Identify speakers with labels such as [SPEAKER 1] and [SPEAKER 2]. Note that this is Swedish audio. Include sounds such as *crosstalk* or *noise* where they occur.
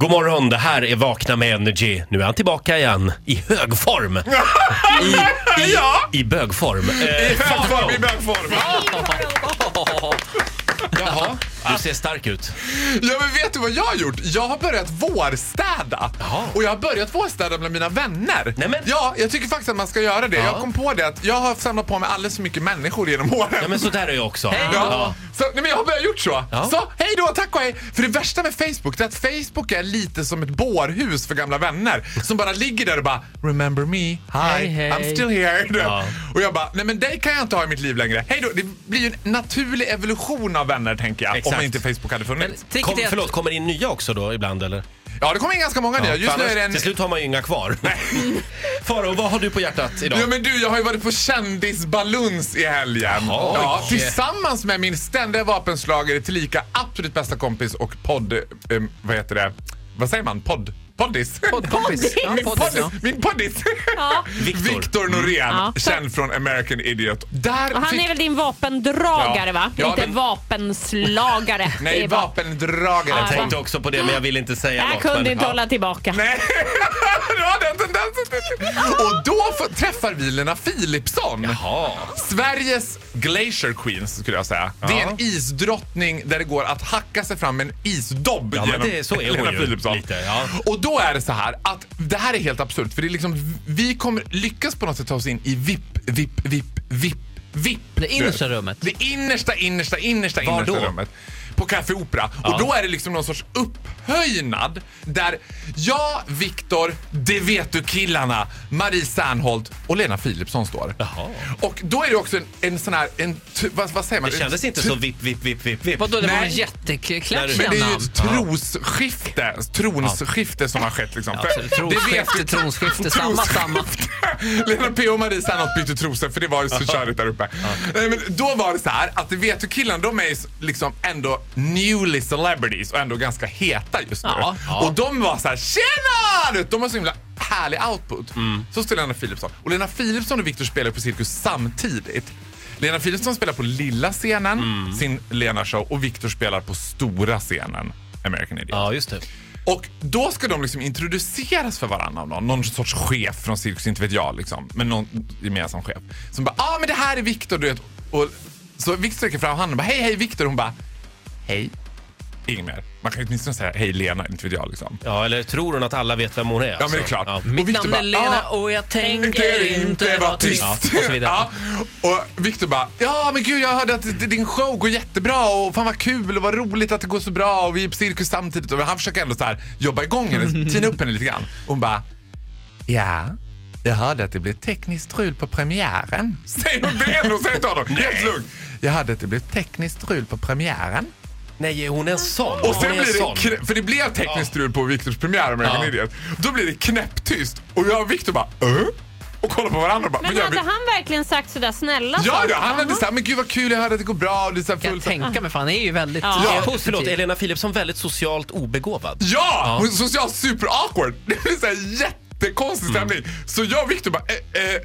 [SPEAKER 1] God morgon, det här är Vakna med Energy. Nu är han tillbaka igen, i hög
[SPEAKER 2] *laughs*
[SPEAKER 1] form. I, i,
[SPEAKER 2] Ja.
[SPEAKER 1] i bögform. Eh,
[SPEAKER 2] Högform i bögform.
[SPEAKER 1] Jaha, du ser stark ut.
[SPEAKER 2] Ja men vet du vad jag har gjort? Jag har börjat vårstäda.
[SPEAKER 1] Jaha.
[SPEAKER 2] Och jag har börjat vårstäda bland mina vänner.
[SPEAKER 1] Nej, men-
[SPEAKER 2] Ja, jag tycker faktiskt att man ska göra det. Jag kom på det att jag har samlat på mig alldeles för mycket människor genom åren.
[SPEAKER 1] Ja, men så där är jag också.
[SPEAKER 2] Ja. Så, nej men jag har börjat gjort så.
[SPEAKER 1] Ja.
[SPEAKER 2] Så, hej då, tack och hej. För det värsta med Facebook det är att Facebook är lite som ett bårhus för gamla vänner som bara ligger där och bara “Remember me? Hi,
[SPEAKER 3] Hej, hej.
[SPEAKER 2] I'm still here”. Du vet.
[SPEAKER 1] Ja.
[SPEAKER 2] Och jag bara “Nej men dig kan jag inte ha i mitt liv längre. Hej då”. Det blir ju en naturlig evolution av vänner tänker jag.
[SPEAKER 1] Exakt.
[SPEAKER 2] Om inte Facebook hade funnits.
[SPEAKER 3] Tricket
[SPEAKER 1] Kom,
[SPEAKER 3] är att-
[SPEAKER 1] förlåt, kommer det in nya också då ibland eller?
[SPEAKER 2] Ja, det kommer in ganska många nya.
[SPEAKER 1] för
[SPEAKER 2] Just nu
[SPEAKER 1] annars-
[SPEAKER 2] är det en...
[SPEAKER 1] Till slut har man ju inga
[SPEAKER 2] *laughs*
[SPEAKER 1] kvar. Faro, vad har du på hjärtat idag?
[SPEAKER 2] Ja men du, jag har ju varit på kändisbaluns i helgen.
[SPEAKER 1] Jaha.
[SPEAKER 2] Ja,
[SPEAKER 1] Oj.
[SPEAKER 2] tillsammans med min ständiga vapenslagare tillika absolut bästa kompis och podd... Eh, vad heter det? Vad säger man? Podd? Poddis?
[SPEAKER 3] Poddkompis. Ja,
[SPEAKER 2] Min
[SPEAKER 3] poddis,
[SPEAKER 2] poddis,
[SPEAKER 3] ja.
[SPEAKER 2] min poddis.
[SPEAKER 1] Viktor.
[SPEAKER 2] Viktor Norén,
[SPEAKER 4] Mm. Ja.
[SPEAKER 2] känd från American Idiot. Där
[SPEAKER 4] Och han
[SPEAKER 2] fick-
[SPEAKER 4] är väl din vapendragare
[SPEAKER 2] Ja.
[SPEAKER 4] va?
[SPEAKER 2] Ja,
[SPEAKER 4] Inte
[SPEAKER 2] men-
[SPEAKER 4] vapenslagare.
[SPEAKER 2] *laughs*
[SPEAKER 4] Det
[SPEAKER 2] Nej,
[SPEAKER 4] är va-
[SPEAKER 2] vapendragare.
[SPEAKER 1] Jag tänkte också på det men jag ville inte säga
[SPEAKER 4] Jag
[SPEAKER 1] något.
[SPEAKER 4] kunde
[SPEAKER 1] men,
[SPEAKER 4] inte hålla tillbaka.
[SPEAKER 2] *laughs* Nej, *laughs* du har den tendensen. Och då f- träffar vi Lena Philipsson.
[SPEAKER 1] Jaha.
[SPEAKER 2] Sveriges Glacier Queens skulle jag säga. Det är en isdrottning där det går att hacka sig fram med en isdobb
[SPEAKER 1] Ja, men
[SPEAKER 2] genom
[SPEAKER 1] det- så är hon
[SPEAKER 2] Helena
[SPEAKER 1] ju
[SPEAKER 2] Philipsson.
[SPEAKER 1] lite, ja.
[SPEAKER 2] Och då är det så här att det här är helt absurt för det är liksom, vi kommer lyckas på något sätt ta oss in i VIP, VIP, VIP, VIP, VIP.
[SPEAKER 3] Det innersta rummet.
[SPEAKER 2] Det innersta, innersta, innersta,
[SPEAKER 1] Var
[SPEAKER 2] innersta
[SPEAKER 1] då?
[SPEAKER 2] rummet. På Café Opera. Och då är det liksom någon sorts upphöjnad där jag, Viktor, Det vet du-killarna, Marie Serneholt och Lena Philipsson står.
[SPEAKER 1] Jaha.
[SPEAKER 2] Och då är det också en, en sån här, en, t- vad, vad säger man?
[SPEAKER 1] Det kändes inte så vipp, vipp, vipp, vipp, vipp.
[SPEAKER 3] Vadå, det var
[SPEAKER 2] Nej.
[SPEAKER 3] en jätteklapp
[SPEAKER 1] Nej,
[SPEAKER 2] Men det är ju
[SPEAKER 3] namn.
[SPEAKER 2] ett trosskifte, tronsskifte som har skett liksom.
[SPEAKER 3] Ja,
[SPEAKER 2] För
[SPEAKER 1] alltså,
[SPEAKER 3] absolut. Trosskifte, tronsskifte, samma, samma.
[SPEAKER 2] *laughs* Lena P och Marie Serneholt bytte trosor för det var ju så körigt där uppe. Nej, men då var det så här att vet du killarna de är ju liksom ändå newly celebrities och ändå ganska heta just nu.
[SPEAKER 3] Ja, ja.
[SPEAKER 2] Och de var så här “tjena!” Du vet, De har så himla härlig output.
[SPEAKER 3] Mm.
[SPEAKER 2] Så står Lena Philipsson. Och Lena Philipsson och Victor spelar på Cirkus samtidigt. Lena Philipsson spelar på lilla scenen,
[SPEAKER 3] Mm.
[SPEAKER 2] sin Lena-show, och Victor spelar på stora scenen, American Idiot.
[SPEAKER 1] Ja, just det.
[SPEAKER 2] Och då ska de liksom introduceras för varandra av någon. Någon sorts chef från Cirkus, inte vet jag liksom. Men någon gemensam chef. Som bara, ja ah, men det här är Viktor du vet. Och så Viktor sträcker fram handen och bara, hej hej Viktor. Hon bara, hej. Inget mer. Man kan ju åtminstone säga, hej Lena, inte vet jag liksom.
[SPEAKER 1] Ja, eller tror hon att alla vet vem hon är? alltså?
[SPEAKER 2] Ja men det är klart.
[SPEAKER 1] Ja.
[SPEAKER 2] Och
[SPEAKER 3] Mitt
[SPEAKER 2] Victor
[SPEAKER 3] namn
[SPEAKER 2] bara,
[SPEAKER 3] är Lena
[SPEAKER 2] "Ah."
[SPEAKER 3] och jag
[SPEAKER 2] tänker
[SPEAKER 3] tänker
[SPEAKER 2] inte vara tyst.
[SPEAKER 1] Ja,
[SPEAKER 2] Ja,
[SPEAKER 1] och så vidare.
[SPEAKER 2] Och Victor bara, ja men gud jag hörde att d- din show går jättebra och fan vad kul och vad roligt att det går så bra och vi är på cirkus samtidigt. Och han försöker ändå så här jobba igång
[SPEAKER 1] *laughs*
[SPEAKER 2] henne, tina upp henne lite grann. Och hon bara, ja. Jag hörde att det blev tekniskt strul på premiären. *laughs* Säger hon det ändå? Säg inte honom. Helt lugnt. Jag hörde att det blev tekniskt strul på premiären.
[SPEAKER 1] Nej, är hon en sån?
[SPEAKER 2] Och sen
[SPEAKER 1] hon är en
[SPEAKER 2] blir det,
[SPEAKER 1] sån.
[SPEAKER 2] knä- för det blev tekniskt strul på Viktors premiär med American
[SPEAKER 1] Ja.
[SPEAKER 2] Idiot. Då blir det knäpptyst och jag och Viktor bara äh? och kollar på varandra och bara,
[SPEAKER 4] Men
[SPEAKER 2] gör
[SPEAKER 4] hade
[SPEAKER 2] vi?
[SPEAKER 4] han verkligen sagt sådär snälla
[SPEAKER 2] Ja,
[SPEAKER 4] saker?
[SPEAKER 2] ja, han hade
[SPEAKER 4] Jaha.
[SPEAKER 2] såhär, men gud vad kul, jag hörde att det går bra. Och det är så här
[SPEAKER 3] Jag
[SPEAKER 2] fullt.
[SPEAKER 3] tänker mig, fan det är ju väldigt
[SPEAKER 4] Ja.
[SPEAKER 3] eh,
[SPEAKER 1] Ja,
[SPEAKER 3] positiv.
[SPEAKER 1] förlåt, Elena Philipsson väldigt socialt obegåvad.
[SPEAKER 2] Ja! Hon är socialt super awkward. *laughs* Det blir såhär jättekonstig stämning. Så jag och Viktor bara, eh, eh,